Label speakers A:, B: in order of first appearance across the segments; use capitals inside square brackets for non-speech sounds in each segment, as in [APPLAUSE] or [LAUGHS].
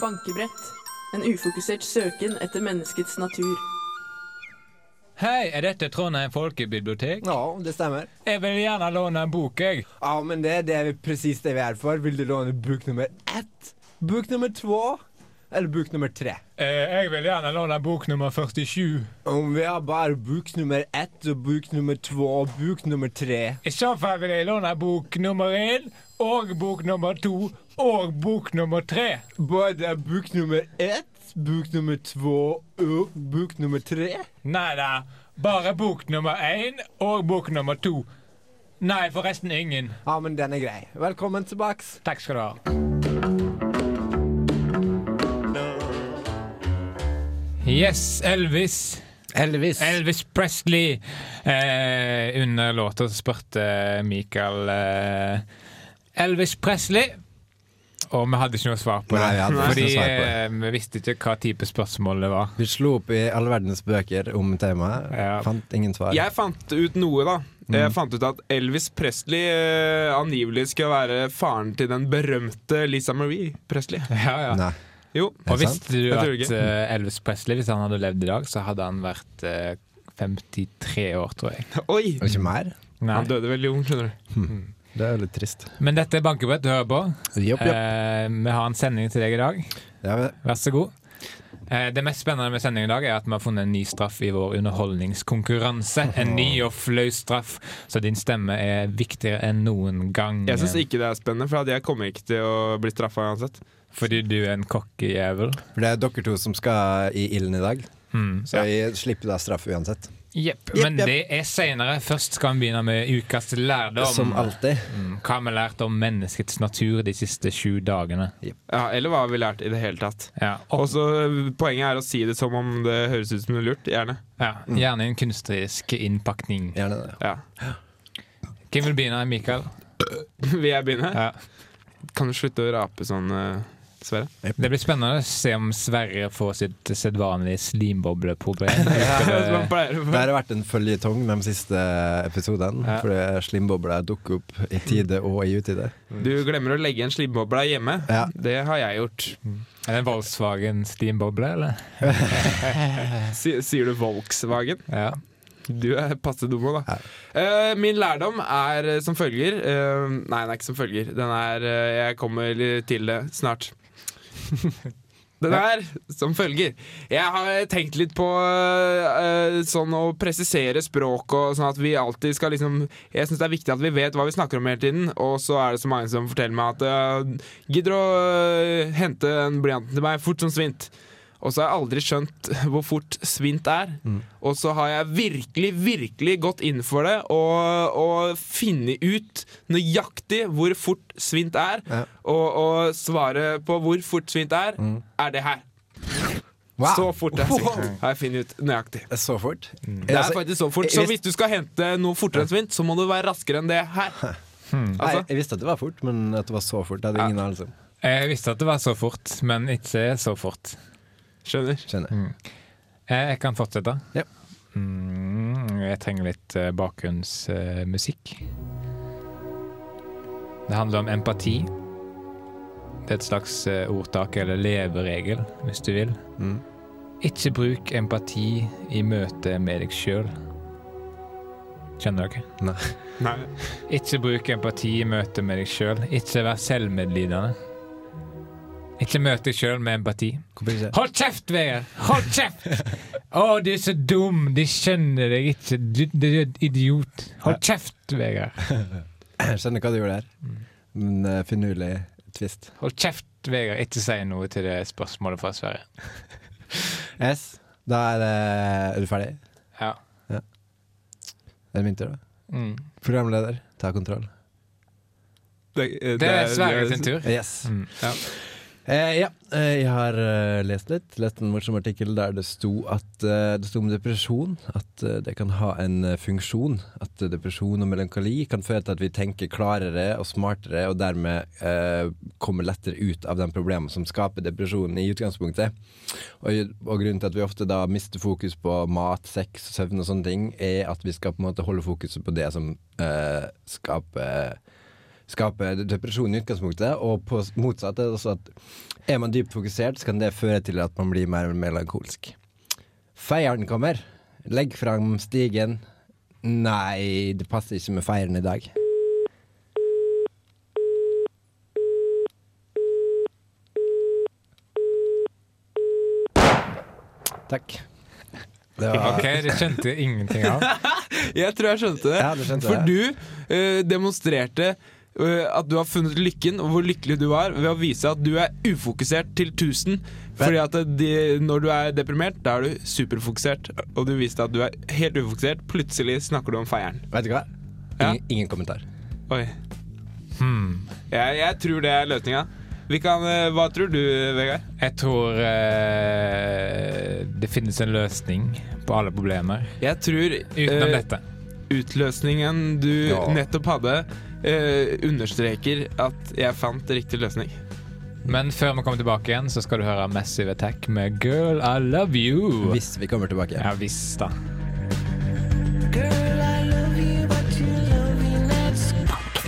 A: bankebrett. En ufokusert søken etter menneskets natur.
B: Hei, er dette Trondheim folkebibliotek?
C: Ja, det stemmer.
B: Jeg vil gjerne låne en bok, jeg.
C: Ja, men det, det er presis det vi er for. Vil du låne bok nummer ett? Bok nummer to? Eller bok nummer tre?
B: Eh, jeg vil gjerne låne bok nummer 47.
C: Om vi har bare bok nummer ett og bok nummer to og bok nummer tre
B: I så fall vil jeg låne bok nummer én og bok nummer to og bok nummer tre.
C: Både bok nummer ett, bok nummer to og bok nummer tre?
B: Nei da, bare bok nummer én og bok nummer to. Nei, forresten ingen.
C: Ja, men den er grei. Velkommen tilbake.
B: Takk skal du ha. Yes, Elvis.
C: Heldigvis.
B: Elvis Presley. Eh, under låta så spurte Michael eh, Elvis Presley. Og vi hadde ikke noe svar på det.
C: Nei, vi hadde ikke
B: fordi
C: noe svar på det.
B: eh, vi visste ikke hva type spørsmål det var. [LAUGHS]
C: Vi slo opp i all verdens bøker om temaet.
B: Ja.
C: Fant ingen svar.
D: Jeg fant ut noe, da. Jeg fant ut at Elvis Presley eh, angivelig skal være faren til den berømte Lisa Marie Presley.
B: Ja, ja.
C: Nei.
D: Jo.
B: Og
C: Er det sant?
B: visste du
D: Jeg tror
B: at
D: ikke.
B: eh, Elvis Presley, hvis han hadde levd i dag, så hadde han vært eh, 53 år, tror jeg.
D: Oi!
C: Og ikke mer?
B: Nei.
D: Han døde veldig ung, skjønner du.
C: Det er jo litt trist.
B: Men dette er bankebrett du hører på.
C: Jopp, jopp.
B: Eh, vi har en sending til deg i dag.
C: Ja, men-
B: Vær så god. Eh, Det mest spennende med sendingen i dag er at vi har funnet en ny straff i vår underholdningskonkurranse. En ny og flau straff, så din stemme er viktigere enn noen gang.
D: Jeg syns ikke det er spennende, for at jeg kommer ikke til å bli straffa uansett.
B: Fordi du er en kokkejævel.
C: For det er dere to som skal i ilden i dag,
B: Mm.
C: så jeg slipper da straff uansett.
B: Jepp.
C: Jepp,
B: Men
C: jepp.
B: det er seinere. Først skal vi begynne med ukas lærdom.
C: Som alltid.
B: Mm, Hva har vi lært om menneskets natur de siste sju dagene?
D: Ja, eller hva har vi lært i det hele tatt?
B: Ja,
D: Og
B: og,
D: så eh, Poenget er å si det som om det høres ut som noe lurt. Gjerne.
B: ja, gjerne en kunstnerisk innpakning.
C: Gjerne det.
D: Ja. [LAUGHS]
B: Hvem vil begynne? Mikael?
D: Vil jeg begynne?
B: Ja.
D: Kan du slutte å rape sånn, eh, Sverre?
B: Det blir spennende å se om Sverre får sitt sedvanlige
C: [LAUGHS]
B: slimbobleproblem.
D: [LAUGHS] Som han pleier å
C: Det
D: få.
C: har vært en føljetong de siste episodene,
B: Ja.
C: fordi slimbobla dukker opp i tide og i utide.
D: Du glemmer å legge en slimbobla hjemme.
C: Ja.
D: Det har jeg gjort.
B: Er det en Volkswagen slimboble, eller?
D: Si- Sier du Volkswagen?
B: Ja.
D: Du er passe dum òg, da. Eh, min lærdom er eh, som følger eh, Nei, den er ikke som følger. Den er eh, Jeg kommer litt til det snart. Den er som følger. Jeg har tenkt litt på eh, eh, sånn å presisere språk og sånn at vi alltid skal liksom Jeg syns det er viktig at vi vet hva vi snakker om hele tiden, og så er det så mange som forteller meg at eh, Gidder å eh, hente den blyanten til meg fort som svint. Og så har jeg aldri skjønt [LAUGHS] hvor fort svint er. Og så har jeg virkelig, virkelig gått inn for det og, og funnet ut nøyaktig hvor fort svint er.
C: Ja.
D: Og, og svaret på hvor fort svint er, er det her. Så fort er svint. Har jeg funnet ut nøyaktig.
C: Så fort?
D: Det
C: altså,
D: er faktisk så fort. Så
C: hvis-
D: hvis du skal hente noe fortere enn svint, så må du være raskere enn det her.
B: Hmm.
C: Nei,
D: Altså,
C: jeg visste at det var fort, men at det var så fort, det hadde ingen anelse om.
B: Jeg visste at det var så fort, men ikke så fort.
D: skjønner.
C: Skjønner.
B: Eh, Jeg kan fortsette.
C: Ja.
B: Mm, jeg trenger litt eh, bakgrunnsmusikk. Det handler om empati. Det er et slags eh, ordtak eller leveregel, hvis du vil.
C: Mm.
B: Ikke bruk empati i møte med deg sjøl. Skjønner dere?
D: Nei.
B: Ikke bruk empati i møte med deg sjøl. Ikke vær selvmedlidende. Ikke møt deg sjøl med empati.
C: Hvorfor ikke?
B: Hold kjeft, Vegard! Hold kjeft! Å, du er så dum! De skjønner deg ikke. Du, du er en idiot. Hold kjeft, Vegard!
C: Jeg skjønner hva du gjorde der. Men uh, finurlig twist.
B: Hold kjeft, Vegard. Ikke si noe til det spørsmålet fra Sverige.
C: S. Da er, det- er du ferdig?
B: Ja.
C: Er det min tur, da?
B: Mm.
C: Programleder, ta kontroll.
D: Det,
B: Det er Sverige sin tur.
C: Yes.
B: Mm. Ja.
C: Eh, ja, eh, jeg har eh, lest litt. Lest en morsom artikkel der det sto, at, eh, det sto om depresjon. At eh, det kan ha en eh, funksjon. At eh, depresjon og melankoli kan føre til at vi tenker klarere og smartere, og dermed eh, kommer lettere ut av de problemene som skaper depresjonen i utgangspunktet. Og, og grunnen til at vi ofte da mister fokus på mat, sex, søvn og sånne ting, er at vi skal på en måte holde fokuset på det som eh, skaper skape depresjon i utgangspunktet, og på s- motsatt er det også at er man dypt fokusert, så kan det føre til at man blir mer melankolsk. Feieren kommer. Legg fram stigen. Nei, det passer ikke med feieren i dag. Takk. Det var
B: OK, det skjønte jeg ingenting [LAUGHS] av.
D: Jeg tror jeg skjønte det.
C: Ja, du skjønte
D: For
C: det.
D: du eh, demonstrerte eh, at du har funnet lykken, og hvor lykkelig du var, ved å vise at du er ufokusert til 1000. Fordi at eh, de, når du er deprimert, da er du superfokusert. Og du viste at du er helt ufokusert. Plutselig snakker du om feieren.
C: Vet du hva?
D: Ja.
C: Ingen, ingen kommentar.
D: Oi.
B: Hmm.
D: Jeg, jeg tror det er løsninga. Vi kan, eh, hva tror du, Vegard?
B: Jeg tror eh, det finnes en løsning på alle problemer
D: Jeg tror eh,
B: utenom dette.
D: utløsningen du
C: Ja.
D: nettopp hadde, eh, understreker at jeg fant riktig løsning.
B: Men før vi kommer tilbake igjen, så skal du høre Massive Attack med Girl, I love you.
C: Hvis vi kommer tilbake.
B: Ja visst, da.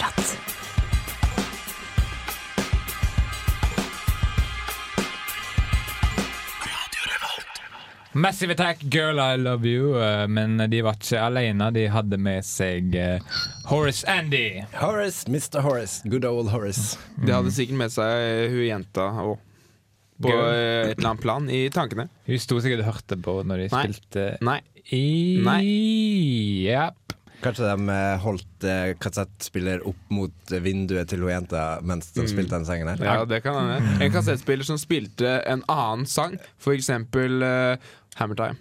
E: Bankeprat.
B: Massive Attack, Girl I Love You. eh, Men de var ikke alene. De hadde med seg eh, Horace Andy.
C: Horace, Mr. Horace. Good old Horace.
D: Det hadde sikkert med seg hun jenta òg. På
B: Gøy.
D: eh, et eller annet plan i tankene.
B: Hun sto sikkert og hørte på når de
D: Nei.
B: spilte
D: Nei.
B: i Ja.
C: Kanskje de eh, holdt eh, kassettspiller opp mot eh, vinduet til hun jenta mens de spilte den sangen her.
D: Ja, det kan hende. En kassettspiller som spilte en annen sang, for eksempel eh, Hammer Time.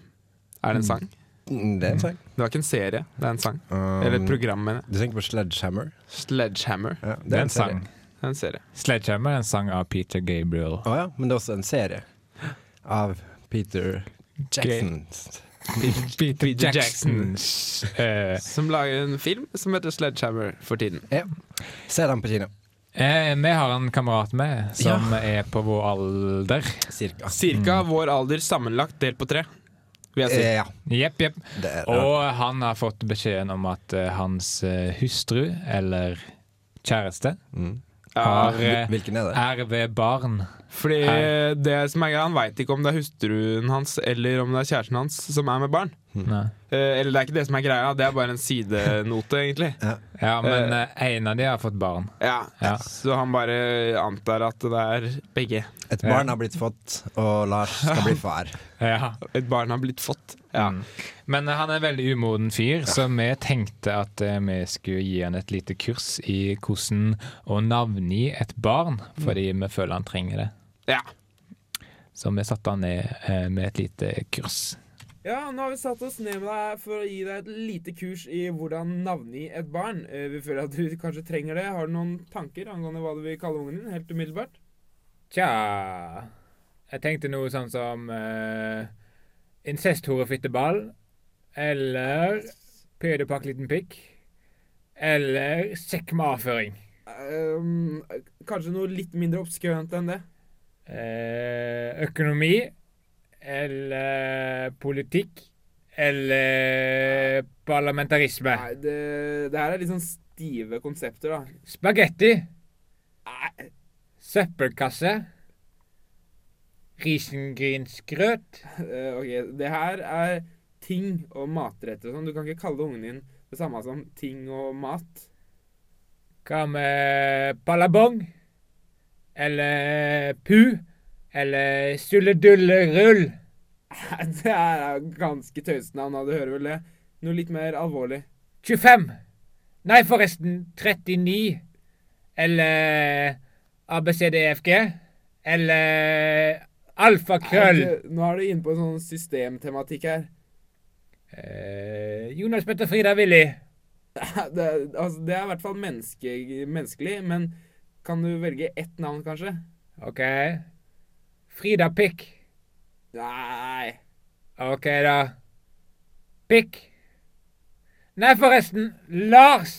D: Er det en sang?
C: Mm, Det er en sang.
D: Det var ikke en serie, det er en sang.
C: Um,
D: Eller et program, mener jeg.
C: Du tenker på Sledgehammer?
D: Sledgehammer.
C: Ja,
B: Det er en sang.
C: serie.
D: Det er en serie.
B: Sledgehammer er en sang av Peter Gabriel.
C: Å ja, men det er også en serie av Peter Jackson.
B: Peter
D: Peter Jackson.
B: Jacksons eh,
D: Som lager en film som heter Sledgehammer for tiden.
C: Ja. Se den på kino.
B: eh, Vi har en kamerat med som er på vår alder.
C: Cirka.
D: Cirka vår alder sammenlagt delt på tre, vil jeg si.
C: Eh, ja.
B: Jepp, jepp.
C: Det er,
B: Og han har fått beskjeden om at eh, hans eh, hustru, eller kjæreste,
D: Ja,
B: har eh,
C: Hvilken er det?
B: er ved barn.
D: Fordi det som er greia, han veit ikke om det er hustruen hans eller om det er kjæresten hans som er med barn.
B: Nei.
D: Eh, eller det er ikke det som er greia, det er bare en sidenote, egentlig.
B: Ja, men eh, en av de har fått barn.
D: Ja.
B: Ja.
D: Så han bare antar at det er begge.
C: Et barn har blitt fått, og Lars skal bli far.
B: Ja.
D: Et barn har blitt fått. Ja.
B: Mm. Men eh, han er en veldig umoden fyr, så vi tenkte at eh, vi skulle gi han et lite kurs i hvordan å navngi et barn, fordi vi føler han trenger det.
D: Mm. Ja.
B: Så vi satte han ned eh, med et lite kurs.
F: Ja, nå har vi satt oss ned med deg for å gi deg et lite kurs i hvordan navngi et barn. Eh, Vi føler at du kanskje trenger det. Har du noen tanker angående hva du vil kalle ungen din, helt umiddelbart?
B: Tja Jeg tenkte noe sånn som uh, incesthorefitteball. Eller pedopakk liten pikk. Eller sekk med avføring.
F: Ehm, kanskje noe litt mindre obskønt enn det.
B: Eh, økonomi. Eller politikk. Eller parlamentarisme.
F: Nei, det, det her er litt sånn stive konsepter, da.
B: Spagetti. Søppelkasse. Risengrynsgrøt.
F: Eh, ok, Det her er ting og matretter og sånn. Du kan ikke kalle ungen din det samme som ting og mat. [LAUGHS]
B: Hva med palabong? Eller pu? Eller sulledullerull?
F: Nei, Det her er ganske tøysete navn, da. du hører vel det? Noe litt mer alvorlig.
B: 25? Nei, forresten, 39. Eller ABCDFG? E Eller alfakrøll?
F: Nei, det- Nå er du inne på en sånn systemtematikk her.
B: Eh, Jonas Petter Frida Willy.
F: [LAUGHS] Det, er- altså, det er i hvert fall menneske, menneskelig, men kan du velge ett navn, kanskje?
B: OK. Frida Pikk.
F: Nei
B: OK, da. Pikk. Nei, forresten. Lars.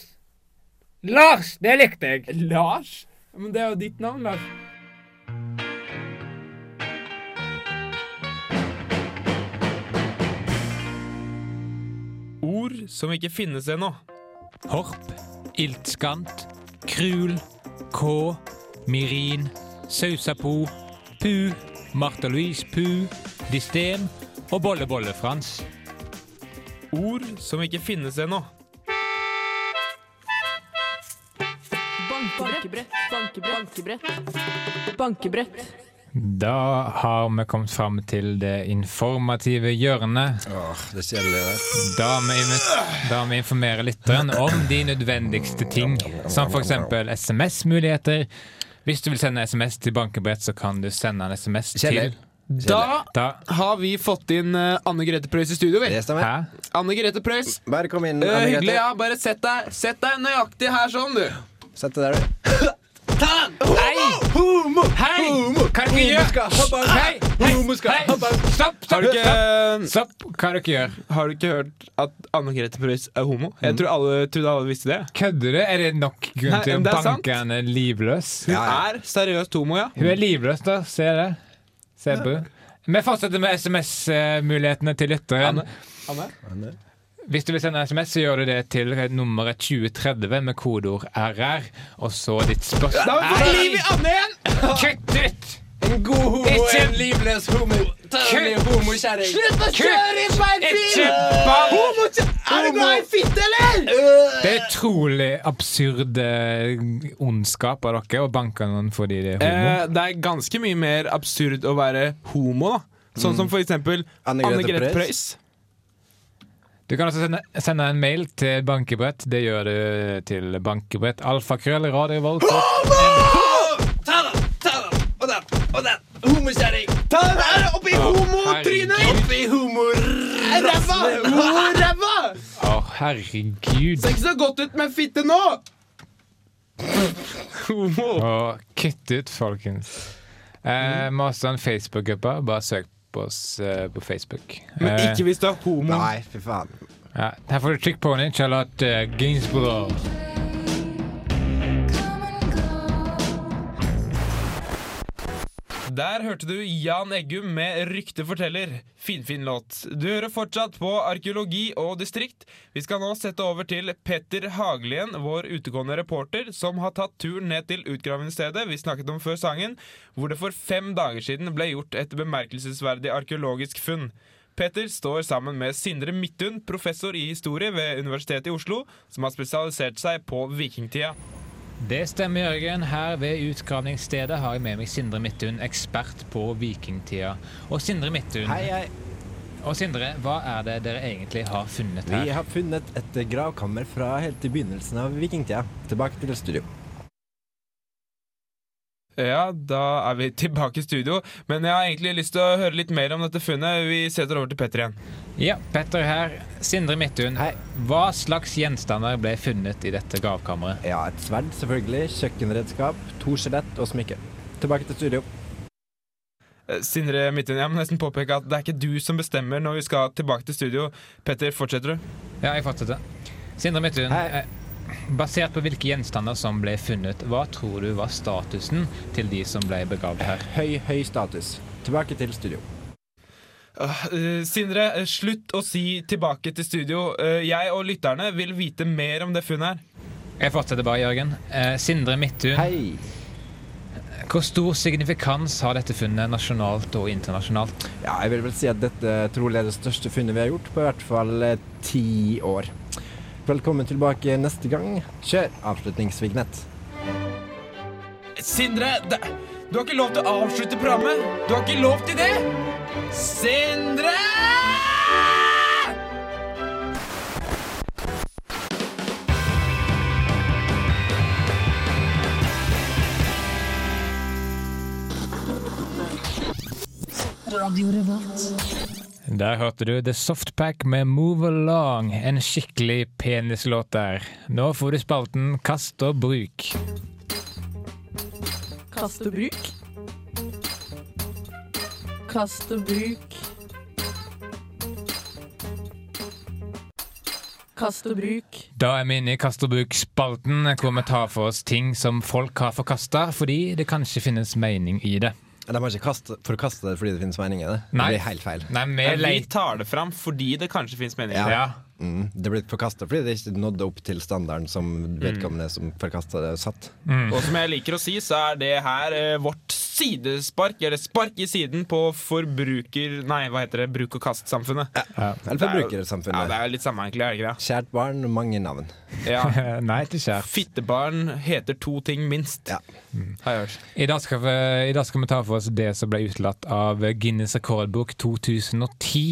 B: Lars, det likte jeg.
F: Lars? Men det er jo ditt navn, Lars.
D: Ord som ikke finnes ennå.
B: Horp, iltskant, Krul, K, Mirin, Sausapo, Pu, Martha Louise Pu, Distem og Bolle-Bolle-Frans.
D: Ord som ikke finnes ennå.
A: Bankebrett. Bankebrett. Bankebrett. Bankebrett.
B: Da har vi kommet fram til det informative hjørnet.
C: det er kjedelig, det.
B: Da vi, invi- da vi informerer lytteren om de nødvendigste ting, som f.eks. SMS-muligheter. Hvis du vil sende SMS til bankebrett, så kan du sende en SMS
C: Kjeller.
B: til
D: Da
B: da,
D: har vi fått inn eh, Anne Grete Preus i studio, vi.
C: Det stemmer.
B: Hæ?
D: Anne Grete Preus.
C: Bare kom inn,
D: Eh,
C: Anne
D: hyggelig,
C: Grete.
D: ja. Bare sett deg, sett deg nøyaktig her sånn, du.
C: Sett deg der, du.
B: Hei! Hei!
D: Oh,
B: Hva dere gjør? Hei! Hei! Hei! Stopp!
D: Har du
B: Stopp! stopp,
D: ikke,
B: Stopp! Hva dere gjør?
D: har du ikke hørt at Anne Grete Preus er homo?
C: Mm.
D: Jeg tror alle, trodde alle visste det.
B: Kødder du? Er det nok grunn
D: Nei,
B: til å
D: det er sant.
B: banke henne livløs?
D: Hun
C: Ja, ja.
D: er seriøst homo, ja.
B: Hun er livløs, da. Se det. Se på henne. Vi fortsetter med SMS-mulighetene til lytteren.
D: Anne?
B: Hvis du vil sende SMS, så gjør du det til nummeret 2030 med kodeord RR, og så ditt
D: Da
B: spørsmål.
D: har vi fått liv i Anne igjen!
B: Kutt ut!
C: En god homo,
B: Ikke-
C: en livløs homo. Tørrlig homokjerring.
D: Slutt å kjøre i meg,
B: Ikke bare
D: Homo! Er du glad i fitte, eller?
B: Det er utrolig absurd eh, ondskap av dere å banke noen fordi de er homo.
D: Eh, det er ganske mye mer absurd å være homo, da. Sånn som for eksempel
C: Mm. Anne
D: Anne
C: Grete
D: Grete Preus.
C: Preus.
B: Du kan altså sende, sende en mail til bankebrett. Det gjør du til bankebrett. Alfakrøll, Radio Volt.
D: Ta den der oppi homotrynet!
B: Herregud.
C: Oppi homor...
D: Ræva! Homoræva!
B: Å, herregud.
D: Ser ikke så godt ut med fitte nå! Homo.
B: Å, kutt ut, folkens. Eh,
D: Mm.
B: Vi har også en Facebook-gruppe. Bare søk på oss eh, på Facebook.
D: Men
B: Eh,
D: ikke hvis du er homo.
C: Nei, fy faen.
B: Ja, her får du Trick Pony, Charlotte eh, Gainsborough.
D: Der hørte du Jan Eggum med 'Rykte forteller'. Finfin låt. Du hører fortsatt på arkeologi og distrikt. Vi skal nå sette over til Petter Haglien, vår utegående reporter, som har tatt turen ned til utgravingsstedet vi snakket om før sangen, hvor det for fem dager siden ble gjort et bemerkelsesverdig arkeologisk funn. Petter står sammen med Sindre Midthun, professor i historie ved Universitetet i Oslo, som har spesialisert seg på vikingtida.
B: Det stemmer, Jørgen. Her ved utgravningsstedet har jeg med meg Sindre Midthun, ekspert på vikingtida. Og Sindre Midthun,
C: Hei, hei.
B: og Sindre, hva er det dere egentlig har funnet
C: Vi
B: her?
C: har funnet et eh, gravkammer fra helt i begynnelsen av vikingtida. Tilbake til studio.
D: Ja, da er vi [LAUGHS] tilbake i studio. Men jeg har egentlig lyst til å høre litt mer om dette funnet. Vi setter over til Petter igjen.
B: Ja, Petter her. Sindre Midthun,
C: Hei.
B: hva slags gjenstander ble funnet i dette gravkammeret?
C: Ja, et sverd, selvfølgelig. Kjøkkenredskap, to skjelett og smykke. Tilbake til studio.
D: Eh, Sindre Midtun, jeg må nesten påpeke at det er ikke du som bestemmer når vi skal tilbake til studio. Petter, fortsetter du?
B: Ja, jeg fortsetter. Sindre Midthun,
C: Hei.
B: eh, basert på hvilke gjenstander som ble funnet, hva tror du var statusen til de som ble begravd her?
C: Høy, høy status. Tilbake til studio.
D: Åh, eh, Sindre, eh, slutt å si 'tilbake til studio'. Eh, Jeg og lytterne vil vite mer om det funnet her.
B: Jeg fortsetter bare, Jørgen. Eh, Sindre Midthun,
C: Hei!
B: Hvor stor signifikans har dette funnet nasjonalt og internasjonalt?
C: Ja, jeg vil vel si at dette trolig er det største funnet vi har gjort på i hvert fall eh, ti år. Velkommen tilbake neste gang. Kjør avslutningsvignett.
D: Sindre, det, du har ikke lov til å avslutte programmet! Du har ikke lov til det! Sindre!
E: Radio Revolt.
B: Der hørte du The Softpack med Move Along, en skikkelig penislåt der. Nå får du spalten Kast og bruk.
A: Kast og bruk. Kast og bruk. Kast og bruk.
B: Da er vi inne i Kast og bruk-spalten, hvor vi tar for oss ting som folk har forkasta fordi det kanskje finnes mening i det.
C: De har ikke kast, forkasta det fordi det finnes mening i det.
B: Nei.
C: Det blir helt feil.
B: Nei, vi
D: Men vi
B: leter
D: tar det fram fordi det kanskje fins meninger.
B: ja. [LAUGHS]
C: Mm. Det ble forkasta fordi det ikke nådde opp til standarden som vedkommende som forkasta det, satt.
D: Og som jeg liker å si, så er det her eh, vårt sidespark, eller spark i siden, på forbruker... Nei, hva heter det? Bruk og kast-samfunnet. Det
C: Eller
D: er jo- Ja,
C: forbrukersamfunnet.
D: det er jo litt samme, egentlig. er det ikke
C: Kjært barn, mange navn.
D: det? Ja.
B: Nei, ikke kjært.
D: [LAUGHS] Fittebarn heter to ting minst, Mm.
C: Ja.
D: har jeg hørt.
B: I dag, skal vi, I dag skal vi ta for oss det som ble utelatt av Guinness rekordbok 2010.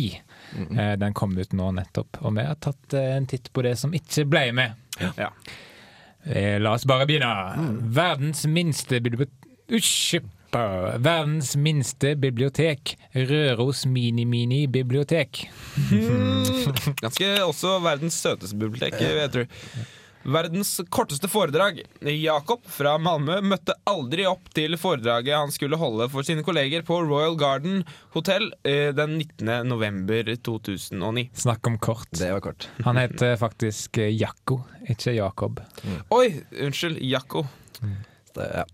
B: Eh, Den kom ut nå nettopp, og vi har tatt eh, en titt på det som ikke ble med.
D: Ja.
B: Eh, La oss bare begynne.
D: Mm.
B: Verdens minste bibliotek Verdens minste bibliotek. Røros mini-mini-bibliotek.
D: Mm. Ganske også verdens søteste bibliotek, jeg tror. Verdens korteste foredrag. Jakob fra Malmö møtte aldri opp til foredraget han skulle holde for sine kolleger på Royal Garden Hotel eh, den 19. november 2009.
B: Snakk om kort.
C: Det var kort.
B: Han heter faktisk eh, Jakko, ikke Jakob.
D: Oi, unnskyld, Jakko.
C: Det, ja.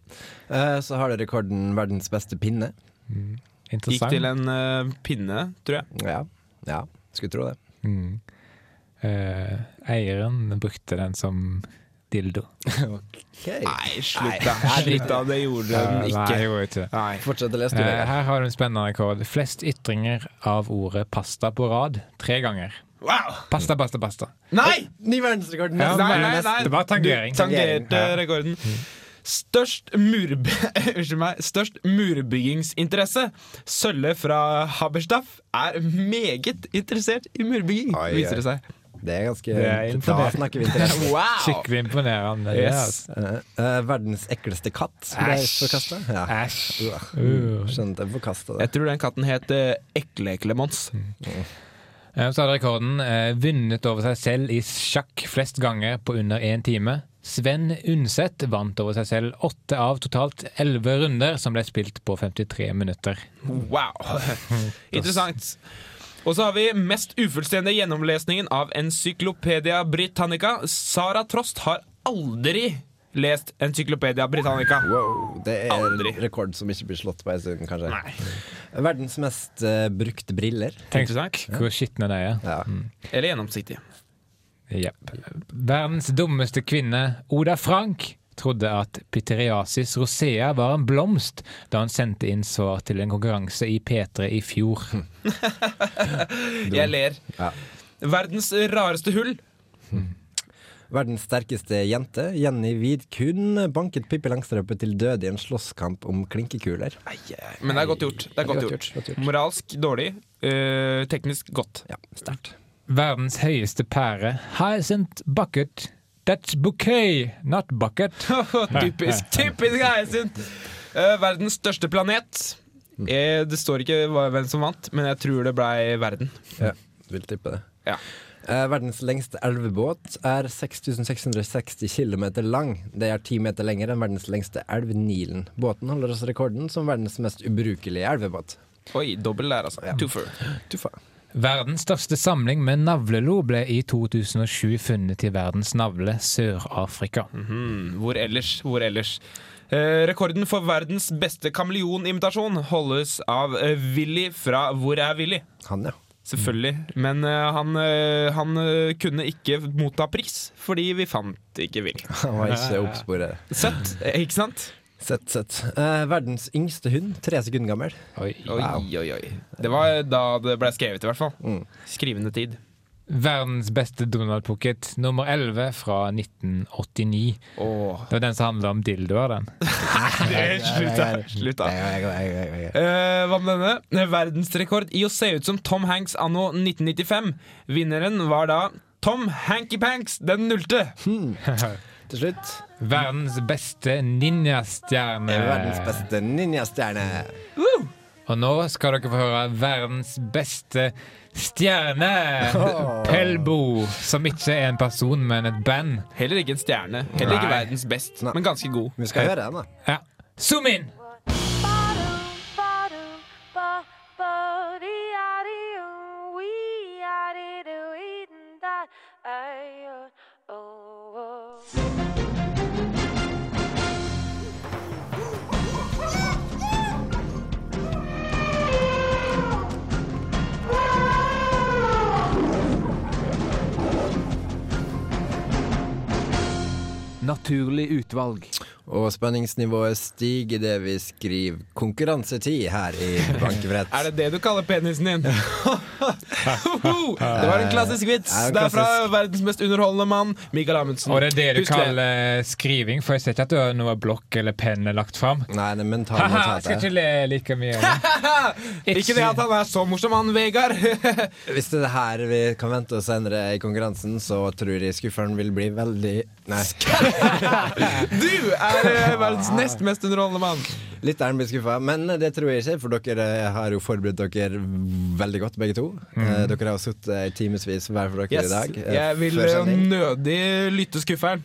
C: Eh, Så har du rekorden 'verdens beste pinne'.
D: Gikk
B: Interessant.
D: til en eh, pinne, tror jeg.
C: Ja. ja. Skulle tro det.
B: Mm. Eh, eieren brukte den som dildo.
D: Nei, slutt da. Slutt da, det gjorde
B: Eh,
D: den
B: Nei,
D: ikke.
B: gjorde ikke.
D: Nei.
C: Fortsett å lese, du,
B: Eh,
C: Vegard.
B: her har du en spennende rekord. Flest ytringer av ordet pasta på rad tre ganger.
D: Wow!
B: Pasta, pasta, pasta.
D: Nei!
C: Ny verdensrekord!
B: Ja,
C: nesten.
D: Nei,
B: men
D: nei, nei.
B: det var tangering.
D: Du tangerte
B: Ja.
D: rekorden. Størst, murbe [LAUGHS] Unnskyld meg. Størst murbyggingsinteresse. Sølle fra Haberstaff er meget interessert i murbygging,
C: Oi, oi.
D: viser det seg.
C: Det er ganske
B: Det er
C: Da
B: imponerende.
C: snakker vi interesse.
D: Wow!
B: Skikkelig altså. imponerende.
D: Yes.
C: Eh, eh, verdens ekleste katt ble
B: Æsj.
C: forkasta. Ja.
B: Æsj.
C: Uh, Skjønner at jeg forkasta det.
D: Jeg tror den katten het eh, Ekle-Eklemons.
B: Eh, Så hadde rekorden eh, vunnet over seg selv i sjakk flest ganger på under én time. Sven Undset vant over seg selv åtte av totalt elleve runder, som ble spilt på 53 minutter. [LAUGHS]
D: Wow. Interessant. Og så har vi mest ufullstendige gjennomlesningen av Encyklopedia Britannica. Sara Trost har aldri lest Encyklopedia Britannica.
C: Wow, det er
D: Aldri.
C: en rekord som ikke blir slått på en stund, kanskje.
D: Nei.
C: Verdens mest eh, brukte briller.
B: Tenk
D: Interessant.
B: hvor skitne de er.
C: Ja.
D: Eller gjennomsiktig.
B: Jepp. Verdens dummeste kvinne, Oda Frank, trodde at piteriasis rosea var en blomst da hun sendte inn svar til en konkurranse i P3 i fjor.
D: Jeg ler.
C: Ja.
D: Verdens rareste hull.
C: Verdens sterkeste jente, Jenny Vidkun, banket Pippi Langstrømpe til døde i en slåsskamp om klinkekuler.
D: Men det er godt gjort. Det er godt gjort.
C: godt gjort.
D: Moralsk dårlig. eh, teknisk
C: [LAUGHS]
D: godt. [LAUGHS]
C: Ja, sterkt.
B: Verdens høyeste pære, Hyacinth Bucket. That's bouquet, not bucket.
D: typisk typisk Eisin! Eh, verdens største planet. Eh, det står ikke hva- hvem som vant, men jeg tror det blei verden.
C: Ja, vil tippe det.
D: Ja.
C: Eh, verdens lengste elvebåt er 6660 km lang. Det er ti meter lenger enn verdens lengste elv, Nilen. Båten holder også rekorden som verdens mest ubrukelige elvebåt.
D: Oi, dobbel der, altså.
C: Ja.
D: Twofer.
C: Du faen.
B: Verdens største samling med navlelo ble i 2007 funnet i verdens navle, Sør-Afrika.
D: Mm, hvor ellers? Hvor ellers? Eh, rekorden for verdens beste kameleonimitasjon holdes av eh, Willy fra Hvor er Willy?
C: Han, ja.
D: Selvfølgelig. Men eh, han, eh, han eh, kunne ikke motta pris, fordi vi fant ikke Willy.
C: Han var ikke oppsporet.
D: Søtt, eh, ikke sant?
C: Sett, sett. Eh, verdens yngste hund, tre sekunder gammel.
B: Oi.
D: Oi, oi, oi. Det var da det ble skrevet, i hvert fall. Skrivende tid.
B: Verdens beste Donald Pocket, nummer 11 fra 1989.
D: Åh.
B: Det var den som handla om dildoer, den.
D: Slutt, da. Slutt, da. Eh, hva med denne? Verdensrekord i å se ut som Tom Hanks anno 1995. Vinneren var da Tom Hanky Panks den nullte.
C: Til slutt,
B: Verdens beste ninjastjerne.
C: verdens beste ninjastjerne.
B: Og nå skal dere få høre verdens beste stjerne, Pelbo. Som ikke er en person, men et band.
D: Heller ikke en stjerne. Heller ikke
B: Nei.
D: verdens best,
C: Nei.
D: men ganske god.
C: Vi skal høre den, da.
B: Ja. Zoom inn!
G: naturlig utvalg.
C: Og spenningsnivået stiger idet vi skriver 'konkurransetid' her i Bankebrett.
D: [LAUGHS] Er det det du kaller penisen din?
C: [LAUGHS]
D: det var en klassisk vits.
C: Ja,
D: Det er fra
C: klassisk.
D: verdens mest underholdende mann, Mikael Amundsen.
B: Og det er Mm. det du
D: Husk
B: kaller eh, skriving, for jeg ser ikke at du har noe blokk eller penn lagt fram.
C: Nei, det er
B: Haha, jeg skal ikke
C: mentalnotatet.
B: le like mye. av det.
D: Ikke det at han er så morsom, han Vegard. [LAUGHS]
C: Hvis det er det her vi kan vente oss senere i konkurransen, så tror jeg skufferen vil bli veldig Nei,
D: Du er eh,
C: Ah.
D: verdens nest mest underholdende mann.
C: lytteren blir skuffa. Men det tror jeg ikke, for dere har jo forberedt dere veldig godt, begge to. Eh, Dere har sittet i timevis hver for dere
D: Yes.
C: i dag. eh,
D: Jeg vil
C: før
D: eh,
C: sending.
D: nødig lytte skufferen.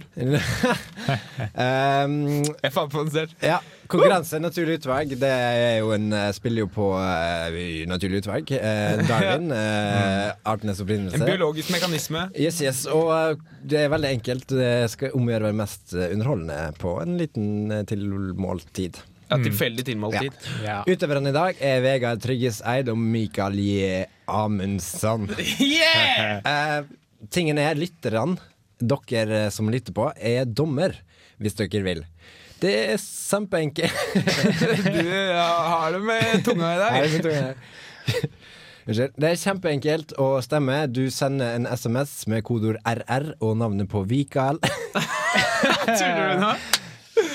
C: Ehm,
D: Jeg fant på den selv.
C: Ja, konkurranse naturlig utvalg. Det er jo en, eh, spiller jo på eh, naturlig utvalg. Eh,
D: [LAUGHS]
C: Darwin. eh, artenes
D: En
C: opprinnelse.
D: biologisk mekanisme.
C: Yes, yes. Og eh, det er veldig enkelt. Det skal om å gjøre å være mest eh, underholdende på en liten eh, tilmåltid.
D: Ja,
B: Mm.
D: tilfeldig tilmålt tid.
B: [LAUGHS] Ja.
C: Utøverne i dag er Vegard Trygges Eid og Mikael J. Amundsen.
D: [LAUGHS] Yeah!
C: [LAUGHS] Eh, tingen er, lytterne, dere eh, som lytter på, er dommer, hvis dere vil. Det er kjempeenkelt.
D: Du ja, har det med tunga i
C: Nei,
D: dag.
C: det tror jeg. Unnskyld. Det er kjempeenkelt å stemme. Du sender en SMS med kodeord RR og navnet på
D: [LAUGHS]
C: Vikael,
D: Tuller du nå?
C: [LAUGHS]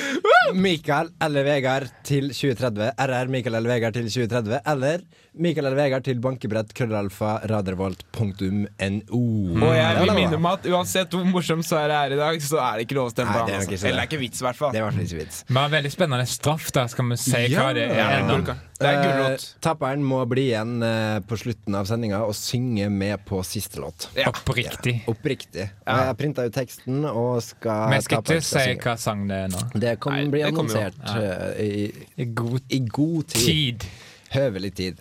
C: Mikael eller Vegard til 2030. RR Mikael eller Vegard til 2030. Eller Mikael eller Vegard til bankebrett krøllalfa radervolt.no.
D: Og jeg vil minne om at uansett hvor morsom Sverre er i dag, så er det ikke lov å stemme
C: Nei,
D: på han.
C: det er nok
D: altså.
C: ikke det.
D: Eller det er ikke vits, i hvert fall.
C: Det var i hvert fall ikke vits.
B: Men veldig spennende straff, da. Skal vi si hva det
D: Ja,
B: er?
D: det er
B: ennå?
D: gulrot. Det er gulrot.
C: Eh, Taperen må bli igjen eh, på slutten av sendinga og synge med på siste låt.
D: Ja.
B: Oppriktig.
C: Oppriktig.
D: Ja.
C: Og Jeg printa ut teksten og skal
B: Men jeg skal
C: taperen
B: ikke si
C: synge.
B: hva sang det er nå.
C: Det kan
D: Nei,
C: bli
D: det kommer jo.
C: annonsert eh, i,
B: I god
C: i god tid.
B: tid.
C: Høvelig tid.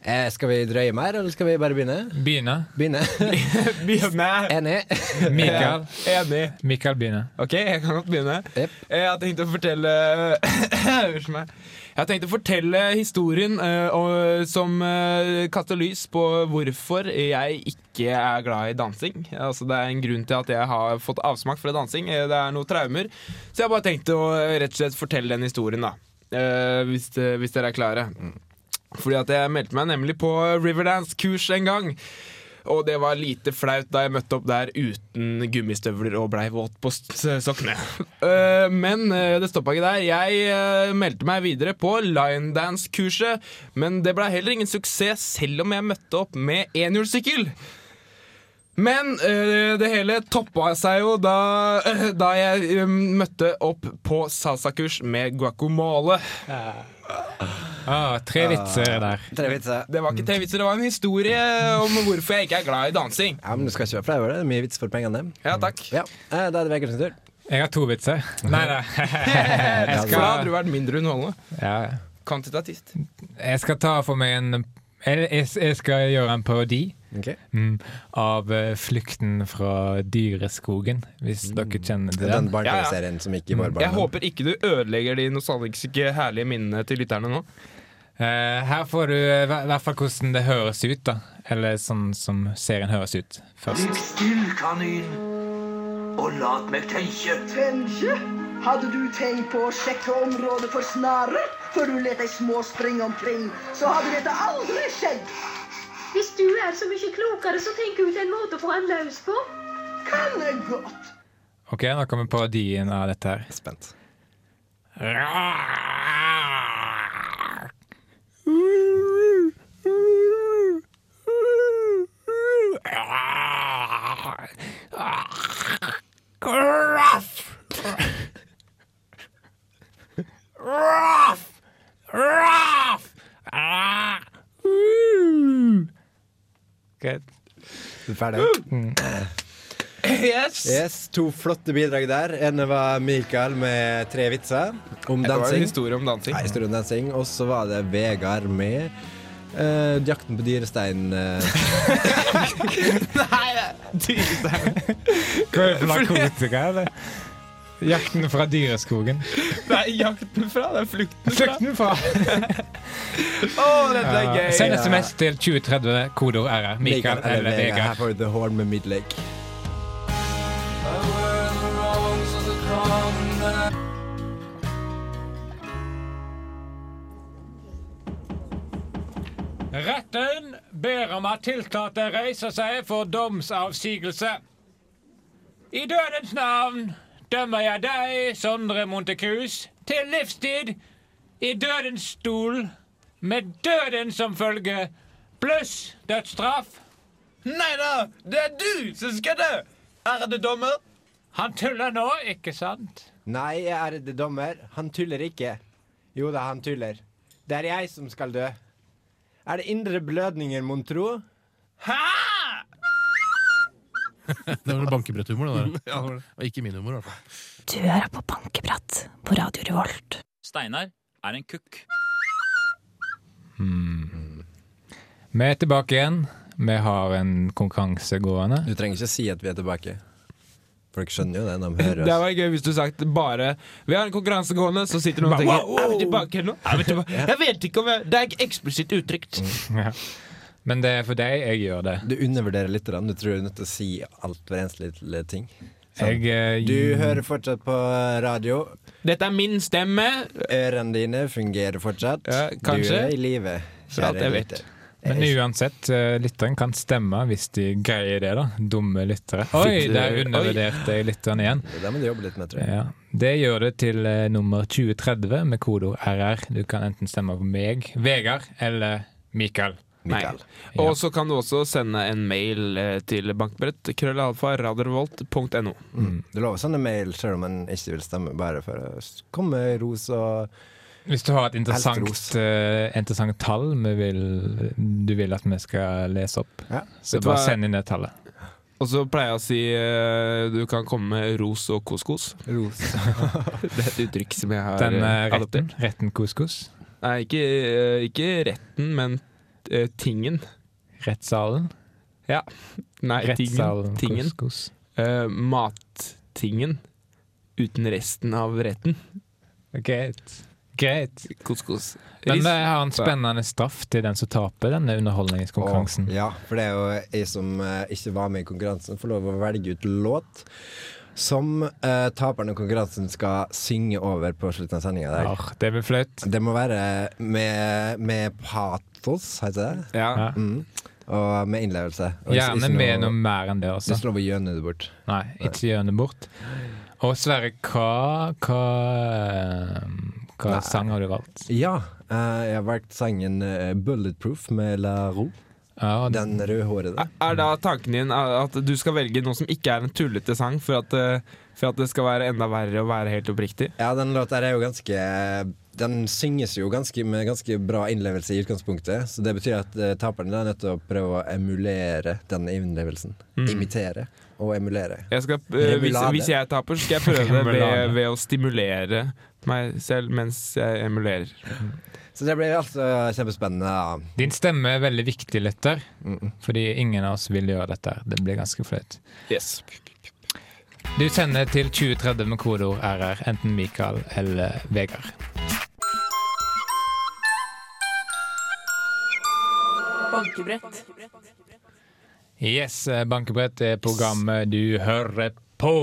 C: Eh, skal vi drøye mer, eller skal vi bare begynne?
B: Begynne.
C: Begynne.
D: [LAUGHS] Begynne.
C: Enig?
B: Mikael.
D: Eh, Enig.
B: Mikael begynner.
D: Ok, jeg kan godt begynne. Eh,
C: Jep.
D: Jeg har tenkt å fortelle [COUGHS] Unnskyld meg. Jeg har tenkt å fortelle historien eh, og, som eh, kaster lys på hvorfor jeg ikke er glad i dansing. Altså, det er en grunn til at jeg har fått avsmak fra dansing. Eh, Det er noen traumer. Så jeg har bare tenkt å eh, rett og slett fortelle den historien, da. Eh, hvis, eh, hvis dere er klare. Fordi at jeg meldte meg nemlig på Riverdance-kurs en gang. Og det var lite flaut da jeg møtte opp der uten gummistøvler og blei våt på s- sokkene. Eh, Men eh, det stoppa ikke der. Jeg eh, meldte meg videre på linedance-kurset, men det blei heller ingen suksess selv om jeg møtte opp med enhjulssykkel. Men eh, det hele toppa seg jo da, da jeg eh, møtte opp på salsakurs med guacamole.
B: Ah, tre vitser der.
C: Tre vitser.
D: Det var ikke TV-vitser, det var en historie om hvorfor jeg ikke er glad i dansing.
C: Ja, men Du skal ikke være flau over det. Det er Mye vits for pengene.
D: Ja, takk.
C: Ja, eh, Da er det Vegard sin tur.
B: Jeg har to vitser. Nei [LAUGHS] da. Jeg
D: For da hadde
B: skal,
D: du vært mindre underholdende.
B: ja.
D: Kvantitativt.
B: jeg skal ta for meg en Eller jeg, jeg skal gjøre en parodi
C: Ok.
B: mm, av eh, 'Flukten fra dyreskogen', hvis dere kjenner til
C: Mm. Den
B: den.
C: barne-tv-serien som gikk i vår
D: Jeg
C: barndom.
D: håper ikke du ødelegger de nostalgiske herlige minnene til lytterne nå.
B: Eh, her får du eh, hver- hvert fall hvordan det høres ut, da. Eller sånn som serien høres ut først.
H: Ligg still, kanin, og lat meg tenke.
I: Tenke? Hadde du tenkt på å sjekke området for snare før du let deg små springe omkring, så hadde dette aldri skjedd.
J: Hvis du er så mye klokere, så tenk ut en måte å få han løs på.
I: Kan jeg godt.
B: OK, nå kommer parodien av dette her.
C: Spent.
B: Ruff! Ruff! Ruff! Ah! Ooh. Good.
C: Du er ferdig?
D: Mm.
C: Eh.
D: Yes!
C: Yes, To flotte bidrag der. En var Mikael med tre vitser om
D: Det var en
C: dansing.
D: historie om dansing.
C: Nei, Sturle Dancing. Og så var det Vegard med eh, 'Jakten på dyresteinen'.
D: [LAUGHS]
C: eh.
B: Hva
D: [LAUGHS]
B: er det for narkotika, eller? Jakten fra dyreskogen.
D: Det er jakten fra, det er flukten fra.
B: Flukten fra
D: Å, dette er gøy!
B: Send SMS til 2030, kodeord RR. Mikael eller Vegard.
C: Her får du The Horn med Midlake.
H: Where the wrongs of the cross
B: Retten ber om at tiltalte reiser seg for domsavsigelse. I dødens navn dømmer jeg deg, Sondre Montecruz, til livstid i dødens stol med døden som følge, pluss dødsstraff.
G: Nei da, det er du som skal dø, ærede dommer.
B: Han tuller nå, ikke sant?
K: Nei, ærede dommer, han tuller ikke. Jo da, han tuller. Det er jeg som skal dø. Er det indre blødninger, mon tro?
G: Hæ?
L: Det var bankebretthumor, det der. Og ikke min humor, i hvert fall.
E: Du hører på Bankeprat på Radio Revolt.
M: [LAUGHS] Steinar er en kukk.
B: Vi er tilbake igjen. Vi har en konkurranse gående.
C: Du trenger ikke si at vi er tilbake. Folk skjønner jo det [LAUGHS] når de hører
D: Det var gøy hvis du sagt bare Vi har en konkurranse gående, så sitter noen og tenker
G: Wow, wow.
D: Er vi tilbake nå? Er vi tilbake? Jeg vet ikke om jeg Det er eksplisitt uttrykt.
B: Ja. [LAUGHS] Men det er for deg jeg gjør det.
C: Du undervurderer litt. Du tror du er nødt til å si alt hver eneste lille ting. Sånn.
B: Jeg, eh,
C: Du hører fortsatt på radio.
D: Dette er min stemme.
C: Ørene dine fungerer fortsatt.
D: Ja, kanskje.
C: Du er i live.
D: For alt
C: kjære
D: jeg vet.
C: lytter.
B: Men uansett, eh, lytteren kan stemme hvis de greier det, da. Dumme lyttere. Oi,
C: Fikk du-
B: der undervurderte jeg lytteren igjen.
C: Det må du jobbe litt med, tror jeg.
B: Ja. Det gjør det til eh, nummer 2030 med kodeord RR. Du kan enten stemme på meg, Vegard eller Mikael.
D: Nei. Og så kan du også sende en mail eh, til bankbrett. Krøllalfa radiorevolt.no.
C: Mm. Det lover sånne mail selv om man ikke vil stemme, bare for å s- komme med ros og
B: Hvis du har et interessant,
C: Helst ros.
B: eh, interessant tall vi vil, du vil at vi skal lese opp,
C: Ja.
B: så
D: Vet du
B: bare
D: hva-
B: send inn det tallet.
D: Og så pleier jeg å si eh, du kan komme med ros og couscous.
C: Ros.
D: [LAUGHS] Det er et uttrykk som jeg har
B: Den eh,
D: eh, adoptert.
B: retten, retten couscous.
D: Nei, ikke, eh, ikke retten, men eh, tingen.
B: Rettssalen.
D: Ja. Nei,
B: Rettssalen
D: tingen. tingen.
B: couscous.
D: Eh, mattingen uten resten av retten.
B: Greit. Greit.
D: Couscous.
B: Men
D: Ris.
B: det har en spennende straff til den som taper denne underholdningskonkurransen.
C: Og, ja, for det er jo jeg som eh, ikke var med i konkurransen, får lov å velge ut låt som eh, taperen av konkurransen skal synge over på slutten av sendinga der.
B: Arr, det blir flaut.
C: Det må være med, med patos, heter det.
D: Ja.
B: Ja.
C: Mm. Og med innlevelse. Og hvis
B: Gjerne
C: ikke
B: med noe mer enn det,
C: Du
B: altså.
C: slår på gjøne det bort.
B: Nei, ikke gjør det bort. Og Sverre, hva Hva, ehm, hva
C: Nei.
B: sang har du valgt?
C: Ja, eh, jeg har valgt sangen eh, 'Bulletproof' med La Roux.
B: Ja,
C: Den rødhårede.
D: Er da tanken din at du skal velge noe som ikke er en tullete sang, for at, eh, for at det skal være enda verre å være helt oppriktig?
C: Ja, den låta her er jo ganske Den synges jo ganske, med ganske bra innlevelse i utgangspunktet. Så det betyr at eh, taperen er nødt til å prøve å emulere den innlevelsen. Imitere og emulere.
D: Jeg skal, eh, hvis,
C: Remulade.
D: hvis jeg taper, så skal [LAUGHS] jeg prøve det ved,
B: Remulade.
D: ved å stimulere meg selv mens jeg emulerer.
C: Så det blir altså kjempespennende. da.
B: din stemme er veldig viktig, lytter, fordi ingen av oss vil gjøre dette. her. Det blir ganske flaut.
D: Yes.
B: Du sender til 2030 med kodeord RR, enten Mikael eller Vegard.
A: Bankebrett.
B: Yes, eh, Bankebrett er programmet du hører på.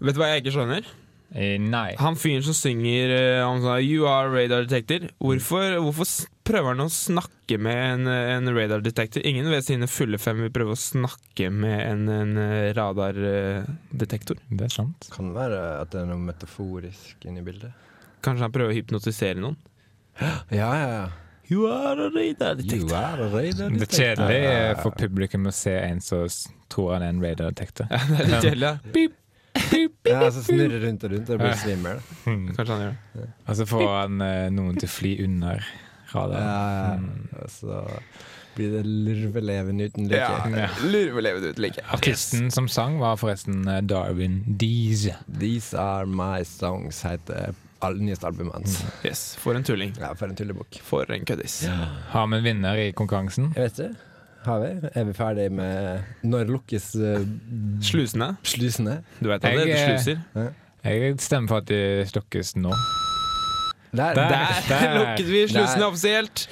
D: Vet du hva jeg ikke skjønner?
B: Eh, Nei.
D: Han fyren som synger eh, om sånn You are radar detector. Hvorfor, hvorfor s- prøver han å snakke med en, eh, en radar detector? Ingen ved sine fulle fem vil prøve å snakke med en, en eh, radardetektor.
B: Det er sant.
C: Kan være at det er noe metaforisk inni bildet.
D: Kanskje han prøver å hypnotisere noen? [LAUGHS]
C: Ja, ja, ja.
D: You are a radar
C: You are a radar
B: Det er kjedelig eh, for publikum å se en som s- tror han er en radiodetektor.
D: Det er litt kjedelig, ja.
C: Ja, så snurrer rundt og rundt og blir svimmel.
D: Kanskje han gjør det.
B: Og så får han eh, noen til å fly under
C: Ja,
B: radaren.
C: ja, ja. Og så blir det lurveleven uten lykke.
B: Ja.
D: Lurvelevet ut like.
B: Artisten som sang, var forresten eh, Darwin Dees.
C: These are my songs, heter all nyeste albumet hans.
D: Yes. For en tulling.
C: Ja, for en tullebukk.
D: For en køddis.
B: Har vi en vinner i konkurransen?
C: Jeg vet ikke. Har vi? Er vi ferdig med Når lukkes eh,
D: Slusene.
C: slusene?
D: Du vet at
B: Jeg,
D: det heter
B: eh,
D: sluser.
B: Jeg stemmer for at de slukkes nå.
C: Der!
D: Der, lukket vi slusene offisielt.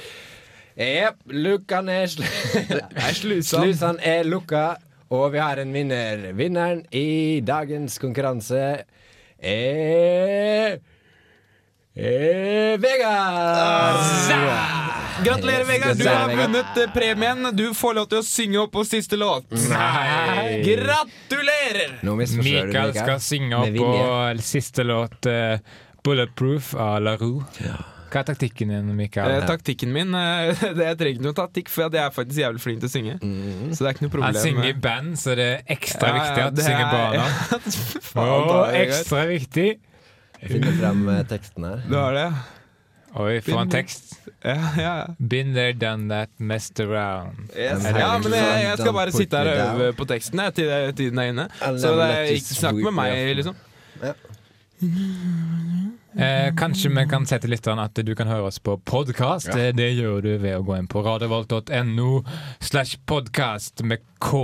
C: Jep, lukkene er slu
D: Nei, slusene.
C: Slusene er lukka, og vi har en vinner. Vinneren i dagens konkurranse Ah, er er Vegard!
D: Gratulerer, Vegard. Du
G: Gratulerer,
D: har
G: Vegard.
D: vunnet eh, premien. Du får lov til å synge opp på siste låt.
B: Nei.
D: Gratulerer!
K: Nå misforstår du,
B: Mikael
K: Mikael.
B: skal synge
K: Med
B: opp på
K: vilje.
B: siste låt eh, 'Bulletproof' av La Roux. Hva er taktikken din, Mikael?
D: Eh, taktikken min eh, [LAUGHS] det, Jeg trenger ikke noen taktikk, for jeg er faktisk jævlig flink til å synge. Så det er ikke noe problem.
B: Han synger i band, så det er ekstra
D: Ja,
B: viktig
D: ja,
B: at du
D: det
B: synger
D: [LAUGHS] er-
B: på
D: Faen,
B: Og
D: da, Vegard.
B: ekstra viktig!
C: Jeg finner frem eh, teksten her.
D: Du har det?
B: Oi, for en
D: Bind-
B: tekst.
D: Ja, ja.
B: Been there, done that, messed around.
D: Yes.
B: Er det
D: ja, men jeg, jeg skal
B: Don't
D: bare
B: put
D: sitte her
B: me
D: og
B: down.
D: øve på teksten jeg, til det- tiden er inne.
B: I'll
D: Så
B: never
D: det
B: let
D: er
B: you
D: ikke snakk
B: sweep
D: med
B: me
D: meg,
B: off.
D: liksom.
B: Eh, kanskje vi kan si til lytterne at du kan høre oss på podkast.
D: Ja.
B: Det gjør du ved å gå inn på radiovolt.no slash podkast med K.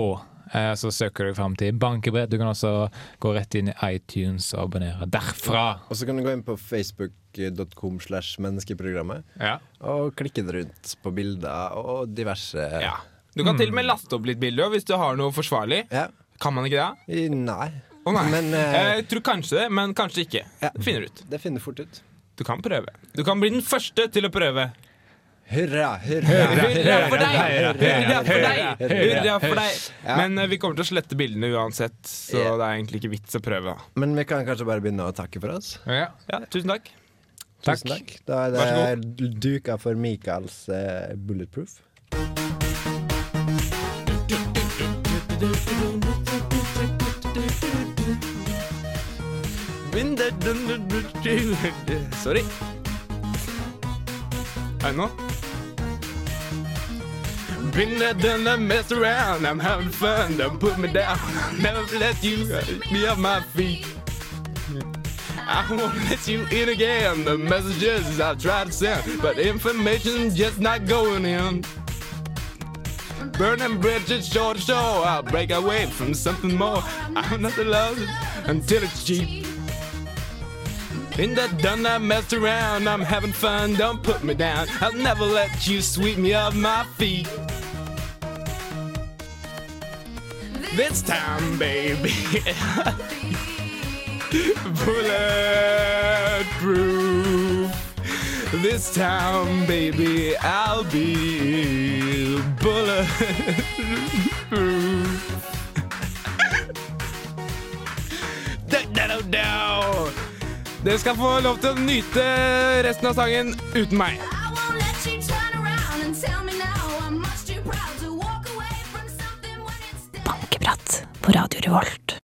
B: Eh, så søker du fram til bankebrett. Du kan også gå rett inn i iTunes og abonnere derfra.
C: Og så kan du gå inn på facebook.com slash menneskeprogrammet
B: Ja.
C: og klikke det rundt på bilder og diverse
D: Du kan til
B: Mm.
D: og med laste opp litt bilder også, hvis du har noe forsvarlig. Kan man ikke det?
C: Nei.
D: Å nei.
C: Men, eh,
D: Eh, Jeg tror kanskje det, men kanskje ikke. Det finner du ut.
C: Det finner fort ut.
D: Du kan prøve. Du kan bli den første til å prøve.
C: Hurra, hurra,
D: Hurra for deg!
C: hurra,
D: Hurra for deg!
C: hurra, hurra.
D: Hurra for deg!
C: Ja.
D: Men eh, vi kommer til å slette bildene uansett, så det er egentlig ikke vits å prøve. da.
C: Men vi kan kanskje bare begynne å takke for oss?
D: Ja, tusen takk.
C: Tusen takk. Da
D: Vær
C: er det duka for Michaels eh, bulletproof.
D: Sorry. Er det noe? Been there, done that, messed around. I'm having fun. Don't put me down. Never let you get me off my feet. I won't let you in again. The messages I try to send, but information's just not going in. Burning bridges shore to shore. I'll break away from something more. I'm not the love until it's cheap. In that done, I messed around. I'm having fun. Don't put me down. I'll never let you sweep me off my feet. This time, baby. Bulletproof. This time, baby, I'll be bulletproof. Da-da-da-da. Dere skal få lov til å nyte resten av sangen uten meg.
E: Bankebrett på Radio Revolt.